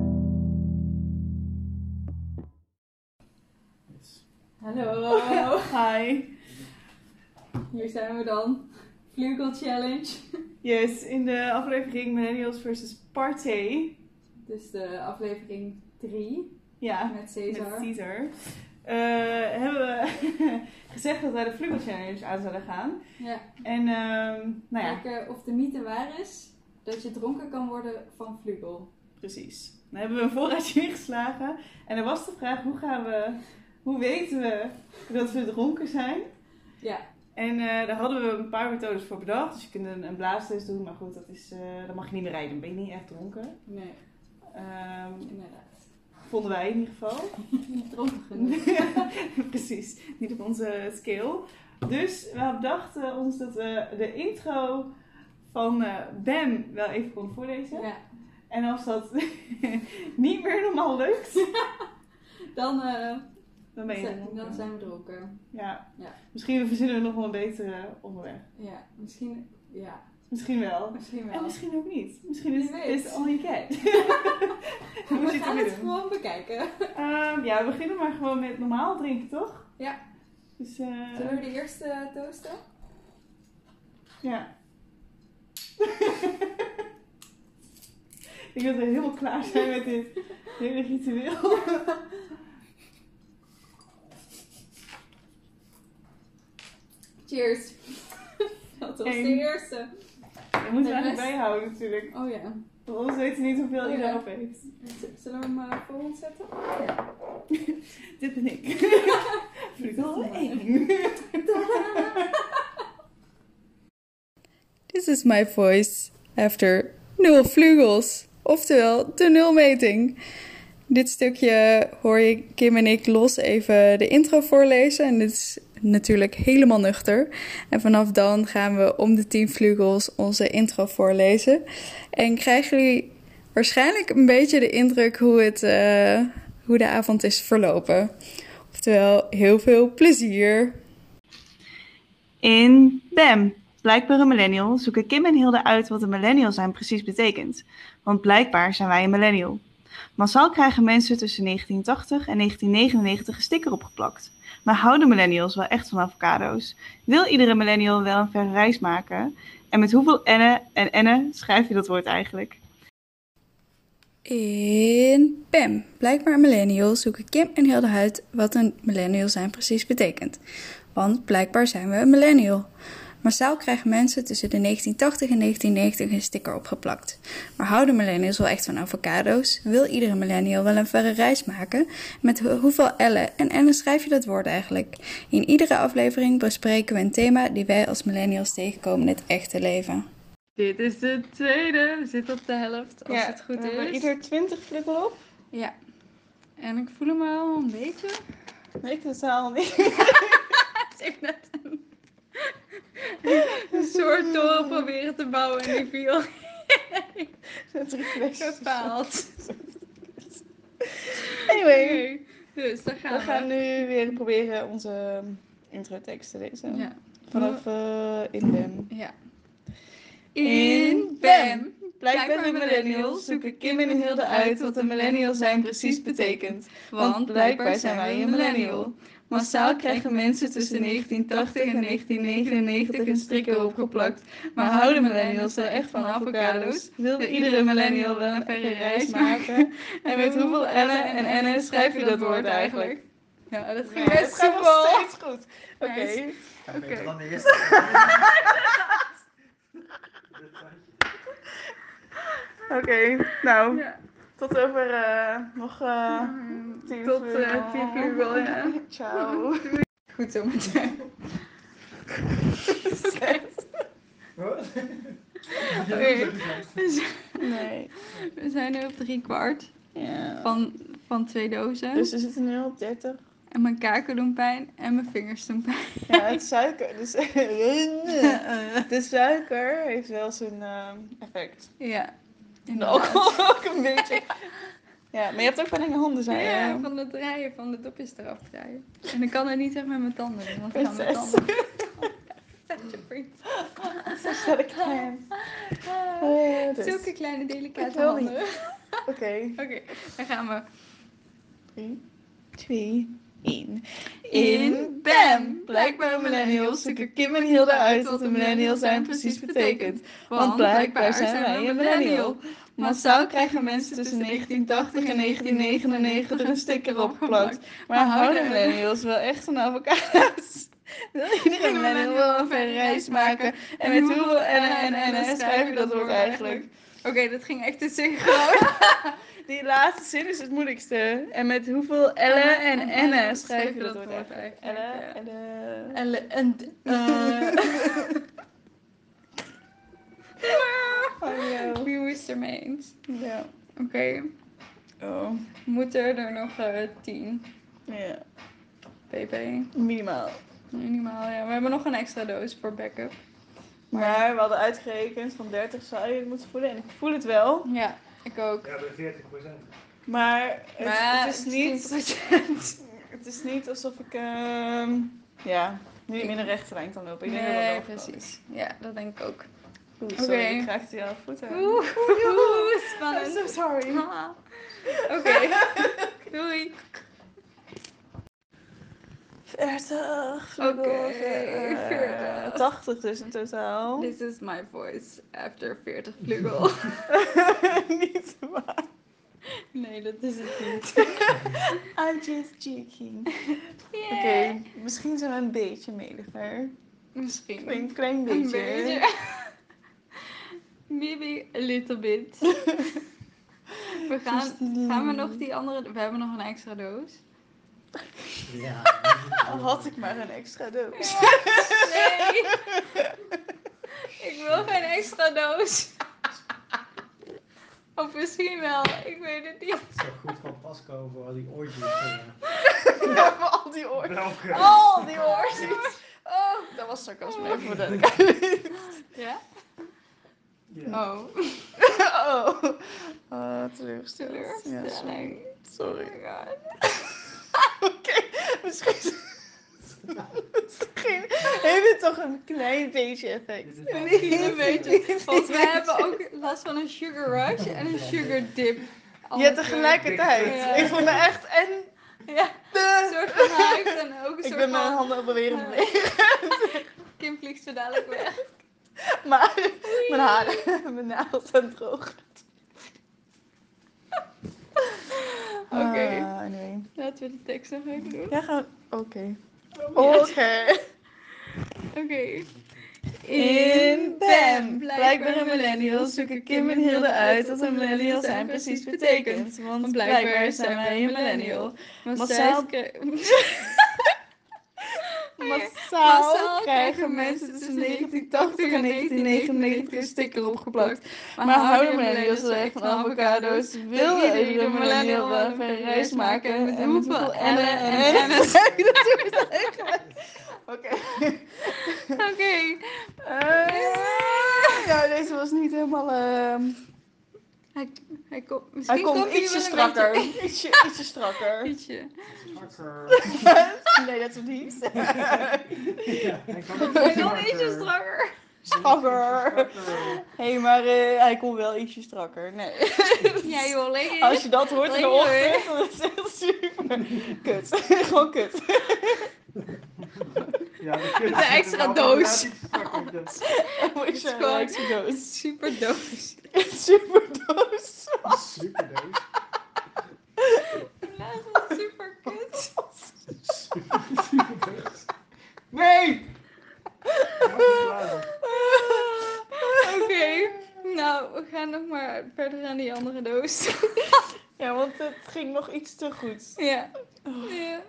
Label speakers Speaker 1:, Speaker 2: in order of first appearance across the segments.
Speaker 1: Oh, mij.
Speaker 2: Hier zijn we dan. Vlugel Challenge.
Speaker 1: Yes, in de aflevering Millennials versus Party.
Speaker 2: Dus de aflevering 3
Speaker 1: Ja,
Speaker 2: met
Speaker 1: met
Speaker 2: Cesar.
Speaker 1: Caesar. eh, hebben we gezegd dat wij de Vlugel Challenge aan zouden gaan.
Speaker 2: Ja.
Speaker 1: En ehm, nou ja,
Speaker 2: Kijken of de mythe waar is dat je dronken kan worden van Vlugel.
Speaker 1: precies. Dan hebben we een voorraadje ingeslagen. En er was de vraag, hoe gaan we... Hoe weten we dat we dronken zijn?
Speaker 2: Ja.
Speaker 1: En eh, daar hadden we een paar methodes voor bedacht. Dus je kunt een, een blaastest doen, maar goed, dat is, eh, dan mag je niet meer rijden. Dan ben je niet echt dronken.
Speaker 2: Nee,
Speaker 1: Ehm,
Speaker 2: inderdaad.
Speaker 1: vonden wij in ieder geval.
Speaker 2: Niet dronken genoeg.
Speaker 1: Precies, niet op onze skill. Dus we bedachten ons dat we de intro van eh, Bam wel even konden voorlezen.
Speaker 2: Ja.
Speaker 1: En als dat niet meer normaal lukt,
Speaker 2: Dan, eh,
Speaker 1: dan ben je
Speaker 2: zijn, dan
Speaker 1: dronken.
Speaker 2: zijn we dronken.
Speaker 1: Ja.
Speaker 2: Ja.
Speaker 1: Misschien verzinnen we nog wel een betere onderweg.
Speaker 2: Ja, misschien. Ja,
Speaker 1: Misschien wel.
Speaker 2: misschien
Speaker 1: En
Speaker 2: wel.
Speaker 1: misschien ook niet. Misschien
Speaker 2: Wie
Speaker 1: is
Speaker 2: weet.
Speaker 1: dit all you get. Hoe
Speaker 2: We
Speaker 1: zit
Speaker 2: gaan
Speaker 1: het
Speaker 2: het
Speaker 1: erin?
Speaker 2: gewoon bekijken.
Speaker 1: Ehm, ja, we beginnen maar gewoon met normaal drinken, toch?
Speaker 2: Ja.
Speaker 1: Dus eh,
Speaker 2: Zullen we de eerste toasten?
Speaker 1: Ja. Ik wil er helemaal klaar zijn met dit hele ritueel.
Speaker 2: Cheers. Dat was de
Speaker 1: Eén.
Speaker 2: eerste.
Speaker 1: Dat
Speaker 2: De
Speaker 1: moeten we eigenlijk
Speaker 2: rest-
Speaker 1: bijhouden natuurlijk.
Speaker 2: Oh ja.
Speaker 1: Want anders weten we niet hoeveel
Speaker 2: Oh Ja.
Speaker 1: ieder op heeft.
Speaker 2: Z- Zullen we hem eh, voor ons zetten?
Speaker 1: Dit ben ik. Vlugel
Speaker 2: Dit is
Speaker 1: 1.
Speaker 3: This is my voice after nul vleugels, oftewel de nulmeting. Dit stukje hoor je Kim en ik los even de intro voorlezen. En dit is natuurlijk helemaal nuchter. En vanaf dan gaan we om de 10 vleugels onze intro voorlezen. En krijgen jullie waarschijnlijk een beetje de indruk hoe, het, eh, hoe de avond is verlopen. Oftewel, heel veel plezier.
Speaker 1: In BAM, blijkbaar een millennial, zoeken Kim en Hilde uit wat een millennial zijn precies betekent. Want blijkbaar zijn wij een millennial. Massaal krijgen mensen tussen 1980 en 1999 een sticker opgeplakt. Maar houden millennials wel echt van avocado's? Wil iedere millennial wel een verre reis maken? En met hoeveel enne en enne schrijf je dat woord eigenlijk?
Speaker 3: In PEM, blijkbaar een millennial, zoeken Kim en Hilde uit wat een millennial zijn precies betekent. Want blijkbaar zijn we een millennial. Massaal krijgen mensen tussen de 1980 en 1990 een sticker opgeplakt. Maar houden millennials wel echt van avocado's? Wil iedere millennial wel een verre reis maken? Met ho- hoeveel L'en en N'en schrijf je dat woord eigenlijk? In iedere aflevering bespreken we een thema die wij als millennials tegenkomen in het echte leven.
Speaker 4: Dit is de tweede. We zitten op de helft, als het goed is.
Speaker 1: ieder 20 flippen op.
Speaker 4: Ja. En ik voel hem al een beetje.
Speaker 1: Nee, totaal niet.
Speaker 4: Het is net een, een soort toren proberen te bouwen en die viel. Gefaald. Oké, Dus daar gaan we.
Speaker 1: nu weer proberen onze ehm, introtekst te lezen.
Speaker 4: Ja.
Speaker 1: Vanaf eh, in BAM.
Speaker 4: ja.
Speaker 1: In
Speaker 4: In
Speaker 1: Bam.
Speaker 4: BAM.
Speaker 1: Blijkbaar met millennials zoeken Kim en Hilde uit wat een millennial zijn precies betekent. Want blijkbaar zijn wij een millennial. Massaal krijgen mensen tussen 1980 en 1999 een strikker opgeplakt. Maar houden millennials er echt van avocado's? Wil iedere millennial wel een verre reis maken? En met hoeveel L'en en N'en schrijf je dat woord eigenlijk?
Speaker 4: Ja, dat
Speaker 1: Nee,
Speaker 4: ging
Speaker 1: het
Speaker 4: best
Speaker 1: gaat nog
Speaker 4: soepel.
Speaker 1: steeds goed. Oké.
Speaker 5: Gaat beter
Speaker 4: Oké.
Speaker 5: dan de eerste.
Speaker 1: Oké, nou,
Speaker 4: Ja.
Speaker 1: tot over eh, nog eh, tien
Speaker 4: Tot
Speaker 1: uur.
Speaker 4: eh, tien uur wel, ja.
Speaker 1: Ciao.
Speaker 3: Goed zo meteen.
Speaker 5: Wat?
Speaker 1: Nee.
Speaker 4: We zijn nu op drie kwart
Speaker 1: Ja.
Speaker 4: van, van twee dozen.
Speaker 1: Dus we zitten nu op 30.
Speaker 4: En mijn kaken doen pijn en mijn vingers doen pijn.
Speaker 1: Ja, het suiker. Dus, de suiker heeft wel zijn ehm, effect.
Speaker 4: Ja.
Speaker 1: En de alcohol ook een beetje. Ja, maar je hebt ook pijn aan je handen,
Speaker 4: Ja,
Speaker 1: zei je.
Speaker 4: van het rijden, van de dopjes eraf rijden. En ik kan het niet echt met mijn tanden doen, want ik ga mijn
Speaker 1: Prinses.
Speaker 4: tanden... Such a princess.
Speaker 1: Zo staat ik klein.
Speaker 4: Ah,
Speaker 1: Oh, ja, dus.
Speaker 4: Zulke kleine
Speaker 1: Ik
Speaker 4: delicate
Speaker 1: wil
Speaker 4: handen. Oké,
Speaker 1: Oké.
Speaker 4: daar gaan we.
Speaker 1: 3, 2, 1. in BAM. Blijkbaar millennials zoeken Kim en Hilde uit wat een millennial zijn precies betekent. Want blijkbaar zijn wij een millennial. Massaal krijgen mensen tussen 1980 en 1999 een sticker opgeplakt. Maar houden millennials wel echt van avocados? Wil iedereen millennial wel een verre reis maken? En met hoeveel en en en schrijf je dat woord eigenlijk?
Speaker 4: Oké, dat ging echt te zeggen.
Speaker 1: Die laatste zin is het moeilijkste. En met hoeveel elle en enne schrijf je dat woord eigenlijk? Elle,
Speaker 4: eigenlijk?
Speaker 1: elle.
Speaker 4: Elle en...
Speaker 1: Oh,
Speaker 4: Wie moest er mee eens?
Speaker 1: ja.
Speaker 4: Oké,
Speaker 1: Oh,
Speaker 4: moeten er nog eh, tien?
Speaker 1: ja.
Speaker 4: PP.
Speaker 1: Minimaal.
Speaker 4: Minimaal, ja. We hebben nog een extra doos voor backup.
Speaker 1: Maar we hadden uitgerekend van 30 zou je het moeten voelen. En ik voel het wel.
Speaker 4: Ja, ik ook.
Speaker 5: Ja, bij 40 procent.
Speaker 1: Maar het,
Speaker 4: Maar
Speaker 1: het is niet...
Speaker 4: 10%.
Speaker 1: Het is niet alsof ik... ehm, ja, niet meer een rechte lijn kan lopen. Ik denk dat
Speaker 4: Nee,
Speaker 1: dat wel gevallen is.
Speaker 4: precies. Ja, dat denk ik ook.
Speaker 1: Oeh,
Speaker 4: Oké.
Speaker 1: sorry, ik raakte je aan de voet aan.
Speaker 4: Oeh, oeh,
Speaker 1: I'm so
Speaker 4: spannend.
Speaker 1: sorry.
Speaker 4: Ah. Oké, doei.
Speaker 1: Vertig.
Speaker 4: Oké,
Speaker 1: eh, 80 dus in totaal.
Speaker 4: This is my voice after 40 vlugel.
Speaker 1: Niet waar.
Speaker 4: nee, dat is het niet.
Speaker 1: I'm just joking. Oké, misschien zijn we een beetje meliger.
Speaker 4: Misschien.
Speaker 1: Een klein beetje.
Speaker 4: Een beetje. Maybe a little bit. We gaan, gaan we nog die andere... We hebben nog een extra doos.
Speaker 5: Ja.
Speaker 1: Al had ik maar een extra doos.
Speaker 4: Nee. Ik wil geen extra doos. Of misschien wel, ik weet het niet.
Speaker 5: Het zou goed van pas komen voor al die oortjes. eh,
Speaker 1: We hebben al die oortjes.
Speaker 5: Belgen.
Speaker 1: Al die oortjes. Oh, dat was sarcasme even voor de
Speaker 4: Ja?
Speaker 5: Ja.
Speaker 4: Oh,
Speaker 1: Oh, oh teleurgesteld. Ja, sorry.
Speaker 4: teleurstelling.
Speaker 1: Sorry.
Speaker 4: Oh my god.
Speaker 1: Oké, misschien... misschien heeft het toch een klein beetje effect.
Speaker 5: Dit is wel-
Speaker 4: Misschien een beetje. Want we hebben ook last van een sugar rush en een sugar dip.
Speaker 1: Ja,
Speaker 4: Alle
Speaker 1: tegelijkertijd.
Speaker 4: Ja.
Speaker 1: Ik voel me echt en...
Speaker 4: kleuren. Ja, een
Speaker 1: De...
Speaker 4: soort van hype en ook een
Speaker 1: Ik
Speaker 4: soort
Speaker 1: ben mijn
Speaker 4: van...
Speaker 1: handen op beweren
Speaker 4: Ja. Kim vliegt zo dadelijk weg.
Speaker 1: Maar mijn haren, mijn nagels zijn droog.
Speaker 4: Oké,
Speaker 1: Ah, anyway.
Speaker 4: laten we de tekst nog even doen.
Speaker 1: Ja, Oh, gaan we- Oké.
Speaker 4: Ja.
Speaker 1: Oké.
Speaker 4: Oké.
Speaker 1: In BAM! Blijkbaar millennials zoeken Kim en Hilde uit wat een millennial zijn precies betekent. Want blijkbaar zijn wij een millennial. Massaal-
Speaker 4: Massaal,
Speaker 1: Massaal krijgen mensen tussen 1980 en 1999 een sticker opgeplakt. Maar houden millennials er echt van avocado's? Wil iedere millennial wel even een reis maken? En met hoeveel ellen en ellen zijn we natuurlijk eigenlijk? Oké.
Speaker 4: Oké.
Speaker 1: Eh, Ja, deze was niet helemaal... ehm,
Speaker 4: Hij, hij komt misschien
Speaker 1: Hij komt
Speaker 4: komt
Speaker 1: ietsje
Speaker 4: hij wel een
Speaker 1: strakker.
Speaker 4: beetje-
Speaker 1: Ietsje, ietsje strakker.
Speaker 4: Ietsje.
Speaker 5: Zwakker.
Speaker 1: nee, dat is niet.
Speaker 5: Ja, hij kan
Speaker 4: Hij komt ietsje strakker.
Speaker 1: Zwakker. Hé, hey, maar eh, hij komt wel ietsje strakker. Nee.
Speaker 4: Ja joh, lekker.
Speaker 1: Als je dat hoort in de
Speaker 4: Lekker, hè?
Speaker 1: ochtend, dan is het echt super. Kut. Gewoon kut.
Speaker 5: Ja, de kut
Speaker 4: Met
Speaker 5: is
Speaker 4: een extra
Speaker 5: wel
Speaker 4: doos.
Speaker 5: automatisch zwakker, dus-
Speaker 1: Is
Speaker 4: gewoon-
Speaker 1: gewoon extra doos.
Speaker 4: Super doos.
Speaker 1: Super doos.
Speaker 5: Super
Speaker 4: Super
Speaker 5: doos.
Speaker 4: kut.
Speaker 5: Super doos.
Speaker 1: Nee!
Speaker 4: Oké. Nou, we gaan nog maar verder aan die andere doos.
Speaker 1: Ja, want het ging nog iets te goed.
Speaker 4: ja. ja.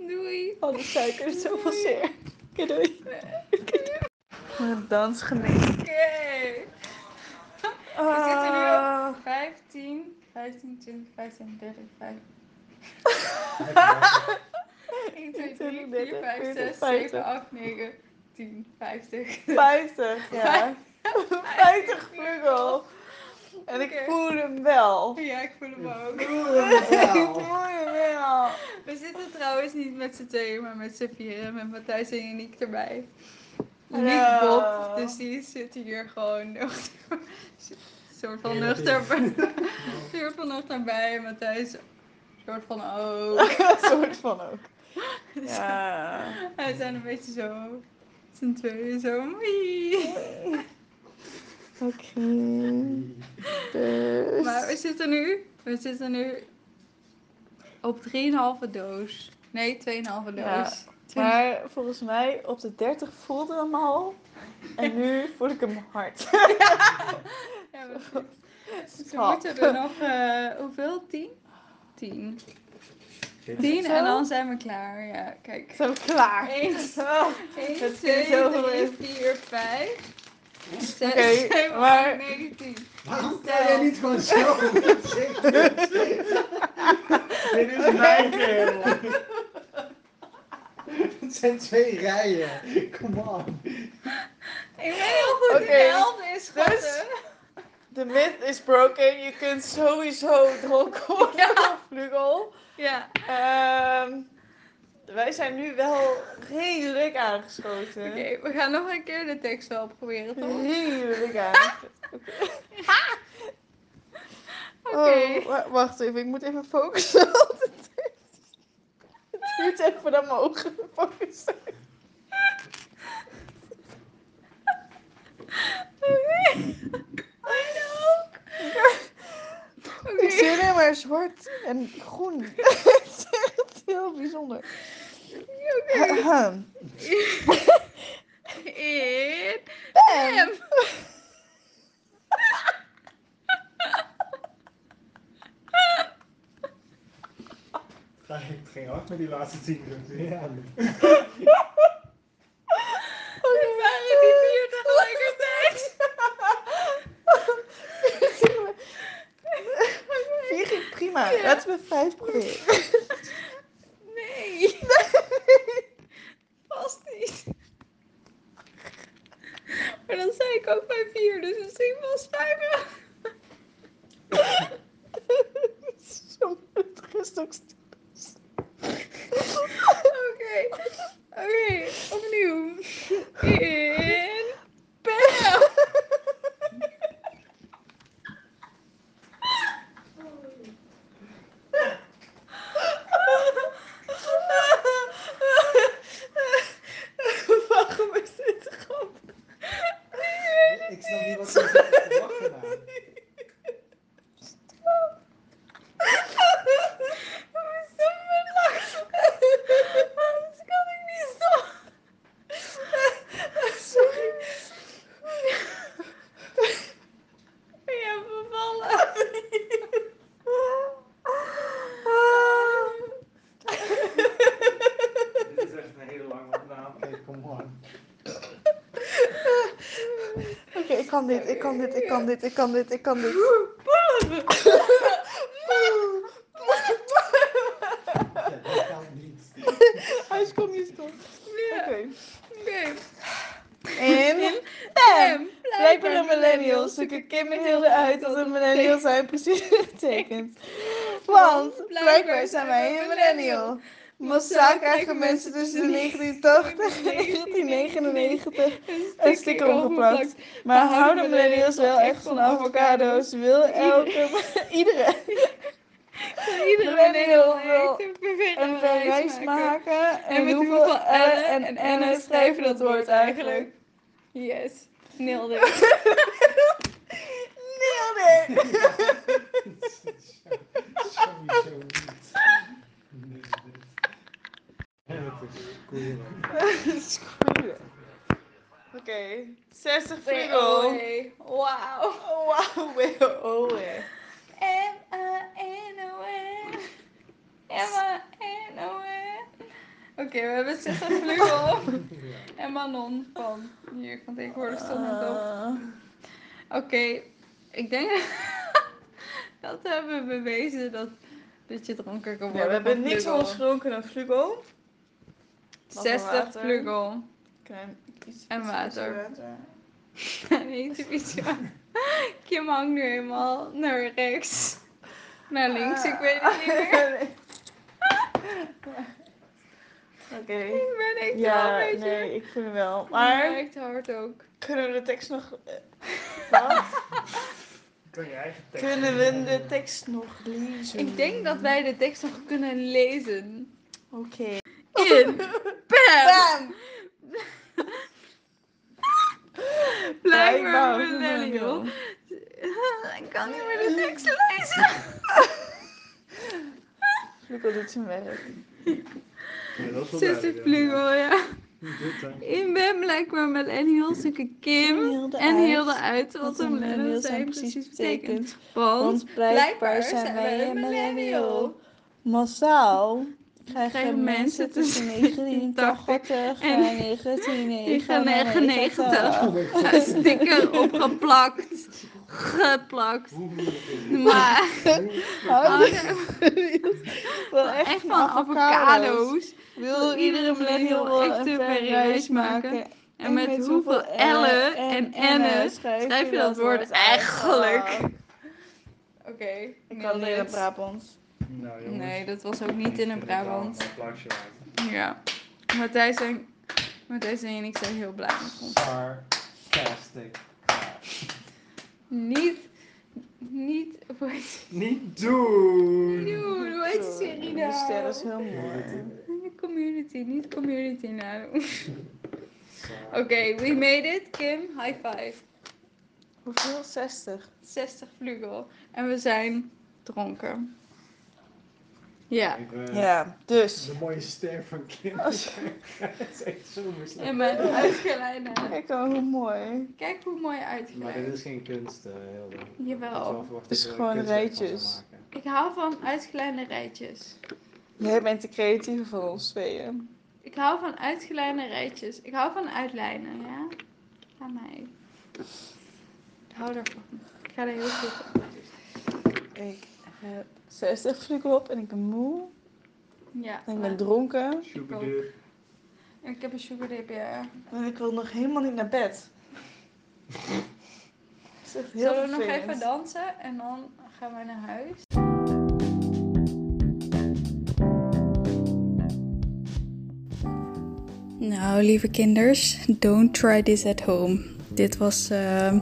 Speaker 4: Doei.
Speaker 1: Al de suiker is zoveel zeer. Oké, doei. Een dansgemeen.
Speaker 4: Oké. Okay. zitten nu
Speaker 1: Ah.
Speaker 4: op- 15, 15, 20, 15, 30, 5. 1, 2, 3, 4, 5, 6, 7, 8, 9, 10, 50.
Speaker 1: 50, ja. 50 vlugel. En ik
Speaker 4: Oké.
Speaker 1: voel hem wel.
Speaker 4: Ja, ik voel hem ook.
Speaker 1: Ik voel hem wel.
Speaker 4: We zitten trouwens niet met z'n tweeën, maar met z'n vieren. Met Matthijs en Uniek erbij. Uniek
Speaker 1: Hallo.
Speaker 4: Bob, dus die zit hier gewoon nuchter. soort van nuchter. soort van nuchter bij. Matthijs, soort van ook.
Speaker 1: soort van ook.
Speaker 3: Ja.
Speaker 4: We zijn een beetje zo. Z'n tweeën zo. Mie.
Speaker 1: Oké. Dus.
Speaker 4: Maar we zitten nu. We zitten nu. Op 3,5 doos. Nee, 2,5 doos.
Speaker 1: Ja. Maar volgens mij op de 30 voelde hem al. En nu voel ik hem hard.
Speaker 4: Ja, Dus we- Ze
Speaker 1: Schat.
Speaker 4: moeten er nog, eh, hoeveel? Tien? Tien. Tien
Speaker 1: Zo?
Speaker 4: en dan zijn we klaar. Ja, kijk.
Speaker 1: Zo klaar.
Speaker 4: Eens.
Speaker 1: Ah,
Speaker 4: 1,
Speaker 1: Het
Speaker 4: 2,
Speaker 1: is zoveel
Speaker 4: 3,
Speaker 1: in.
Speaker 4: 4, 5, 6,
Speaker 1: Oké,
Speaker 4: 7,
Speaker 1: maar-
Speaker 4: 8, 9, 10.
Speaker 5: Waarom kan jij niet gewoon zelf wat zeggen? Dit is mijn kerel. Het zijn twee rijen. Kom on.
Speaker 4: Ik weet heel goed
Speaker 1: Oké,
Speaker 4: wie de helft is, schatten.
Speaker 1: dus- De myth is broken. Je kunt sowieso dronken worden
Speaker 4: Ja.
Speaker 1: op Vlugel.
Speaker 4: Ja,
Speaker 1: Ehm, wij zijn nu wel redelijk aangeschoten.
Speaker 4: oké. we gaan nog een keer de tekst wel proberen, toch? Oké.
Speaker 1: Redelijk aangeschoten. Oh, wa- wacht even. Ik moet even focussen. want het duurt- Het duurt even dat mijn ogen gefocust zijn.
Speaker 4: Oké. I know.
Speaker 1: Die
Speaker 4: Oké.
Speaker 1: zijn maar zwart en groen. Het is echt heel bijzonder. Ahem.
Speaker 4: It.
Speaker 1: Bam!
Speaker 5: Het ging hard met die laatste tien minuten. Ja.
Speaker 4: Het waren die vier tegelijkertijd.
Speaker 1: Vier ging prima.
Speaker 4: Ja.
Speaker 1: Laten we vijf proberen.
Speaker 4: Nee. Past niet. Maar dan zei ik ook bij vier, dus misschien was vijf wel.
Speaker 1: Zo, het rest ook stil.
Speaker 4: Oké. Oké, opnieuw. In. Bam.
Speaker 1: Waarom is dit grappig?
Speaker 5: Ik snap niet wat ze zitten te wachten aan.
Speaker 4: Waarom is dat mijn lach? Anders kan ik niet stoppen.
Speaker 1: Sorry.
Speaker 4: Ik heb bevallen.
Speaker 5: Dit is echt een hele lange opname. Oké, kom on.
Speaker 1: Oké, ik kan dit, ik kan dit, ik kan dit, ik kan dit, ik kan dit.
Speaker 5: Ja, dat kan niet.
Speaker 1: Huis, kom je stom.
Speaker 4: Ja,
Speaker 1: Oké.
Speaker 4: Oké.
Speaker 1: In.
Speaker 4: Bam.
Speaker 1: Blijkbaar een millennial zoeken Kim en Hilde uit dat een millennial zijn precies getekend. Want blijkbaar zijn wij een millennial. Massaal krijgen mensen tussen de 1980 en 1999 een sticker omgeplakt. Maar houden millennials wel echt van avocado's? Wil elke, iedere millennial wil een verrijs maken? En met hoeveel L en N schrijven dat woord eigenlijk?
Speaker 4: Yes. Nailed it.
Speaker 1: Nailed it!
Speaker 5: Sowieso niet. Nee, dit. Ja, dat is cool.
Speaker 1: Screw it. Oké, 60 vlugel.
Speaker 4: Hey, Wauw.
Speaker 1: Wow, weer alweer.
Speaker 4: M-A-N-O-N. M-A-N-O-N. Oké, we hebben 60 vlugel. en Manon van hier van tegenwoordig stond het
Speaker 1: Ah.
Speaker 4: op. Oké, ik denk dat hebben we bewezen dat, dat je dronken kan
Speaker 1: we
Speaker 4: worden.
Speaker 1: hebben
Speaker 4: van
Speaker 1: niks
Speaker 4: vlugel.
Speaker 1: anders gedronken dan vlugel. dan
Speaker 4: 60
Speaker 1: water.
Speaker 4: vlugel.
Speaker 1: Klein- iets-
Speaker 4: En
Speaker 1: iets-
Speaker 4: water.
Speaker 1: iets water.
Speaker 4: Nee, typisch aan. Kim hangt nu helemaal naar rechts. Naar links, ik weet het niet meer.
Speaker 1: Ah. Oké.
Speaker 4: Ik ben echt wel
Speaker 1: Ah. Ja,
Speaker 4: een beetje...
Speaker 1: nee, ik vind het wel.
Speaker 4: Maar...
Speaker 1: Maar
Speaker 4: Werkt hard ook.
Speaker 1: kunnen we de tekst nog... eh, wat?
Speaker 5: Kan je eigen tekst
Speaker 1: Kunnen we
Speaker 5: doen?
Speaker 1: de tekst nog lezen?
Speaker 4: Ik denk dat wij de tekst nog kunnen lezen.
Speaker 1: Oké.
Speaker 4: in. Bam! Blijkbaar een millennial. Ik kan niet meer de tekst lezen.
Speaker 1: Flugo doet zijn werk.
Speaker 5: Ja, dat is wel
Speaker 4: Sister
Speaker 5: duidelijk, ja.
Speaker 4: Flugo, ja.
Speaker 5: Dit zijn-
Speaker 4: Ik ben blijkbaar millennial, zoeken Kim.
Speaker 1: hielden
Speaker 4: En
Speaker 1: uit
Speaker 4: hielden uit wat een millennial zijn precies betekent. Want blijkbaar zijn wij een millennial.
Speaker 1: Massaal
Speaker 4: Krijgen
Speaker 1: krijgen
Speaker 4: mensen
Speaker 1: mensen tussen 1980 en
Speaker 4: en
Speaker 1: 1999
Speaker 5: Oh mijn god,
Speaker 4: Een sticker opgeplakt. Geplakt.
Speaker 5: hoe moeilijk is dit?
Speaker 4: Maar
Speaker 1: houden wel
Speaker 4: echt van avocado's.
Speaker 1: Wil iedere millennial wel
Speaker 4: echt
Speaker 1: een
Speaker 4: een
Speaker 1: ver reis maken?
Speaker 4: En met hoeveel L'en en N'en schrijf je dat woord eigenlijk?
Speaker 1: Oké, ik kan
Speaker 4: niet.
Speaker 1: leren Brabants.
Speaker 5: Nou, jongens.
Speaker 4: Nee, dat was ook niet in een Brabant.
Speaker 5: Een applausje waard.
Speaker 4: Ja. Matthijs en, Matthijs en ik zijn heel blij met ons.
Speaker 5: Sarcastic.
Speaker 4: Niet, niet, hoe heet
Speaker 5: Niet doen!
Speaker 4: Dude, hoe heet Hmm. die serie nou?
Speaker 1: De ster is heel mooi.
Speaker 4: Community, niet community nou. Oké,
Speaker 5: Sarcastic.
Speaker 4: we made it. Kim, high five.
Speaker 1: Hoeveel? 60.
Speaker 4: 60 vlugel. En we zijn dronken. Ja.
Speaker 5: Ik, eh,
Speaker 1: Ja,
Speaker 5: Dat
Speaker 1: dus.
Speaker 5: is een mooie ster van Kim.
Speaker 1: Oh,
Speaker 5: Het is echt zo mislukt.
Speaker 4: En mijn uitgeleide.
Speaker 1: Kijk al hoe mooi.
Speaker 4: Kijk hoe mooi
Speaker 5: Maar dit
Speaker 4: uitgeleid.
Speaker 5: is geen kunst, eh Hilde. Ik had
Speaker 4: Jawel.
Speaker 5: wel verwacht
Speaker 1: Het is
Speaker 5: dat je er
Speaker 1: gewoon
Speaker 5: een kunstwerk van
Speaker 1: rijtjes.
Speaker 5: zou maken.
Speaker 4: Ik hou van uitgeleide rijtjes.
Speaker 1: Jij bent de creatieve van ons tweeën.
Speaker 4: Ik hou van uitgeleide rijtjes. Ik hou van uitlijnen, ja? Aan mij. Ik hou daarvan. Ik ga er heel goed op.
Speaker 1: Ik heb 60 vliegen op en ik ben moe.
Speaker 4: Ja.
Speaker 1: En ik ben dronken.
Speaker 5: Sjoebedoe.
Speaker 4: Ik heb een sugar dip, ja.
Speaker 1: En ik wil nog helemaal niet naar bed. Het is echt heel
Speaker 4: Zullen we nog
Speaker 1: vervelend.
Speaker 4: even dansen en dan gaan wij naar huis?
Speaker 3: Nou, lieve kinders, don't try this at home. Dit was eh,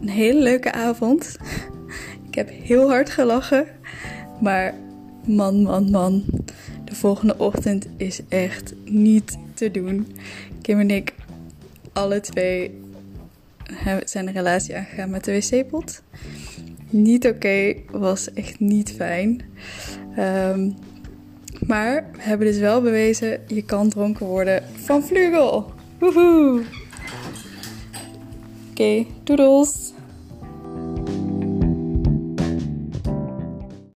Speaker 3: een hele leuke avond. Ik heb heel hard gelachen. Maar man, man, man. De volgende ochtend is echt niet te doen. Kim en ik, alle twee, hebben- zijn een relatie aangegaan met de wc-pot. Niet oké, was echt niet fijn. Ehm maar we hebben dus wel bewezen, je kan dronken worden van Vlugel. Woehoe! Oké, doedels!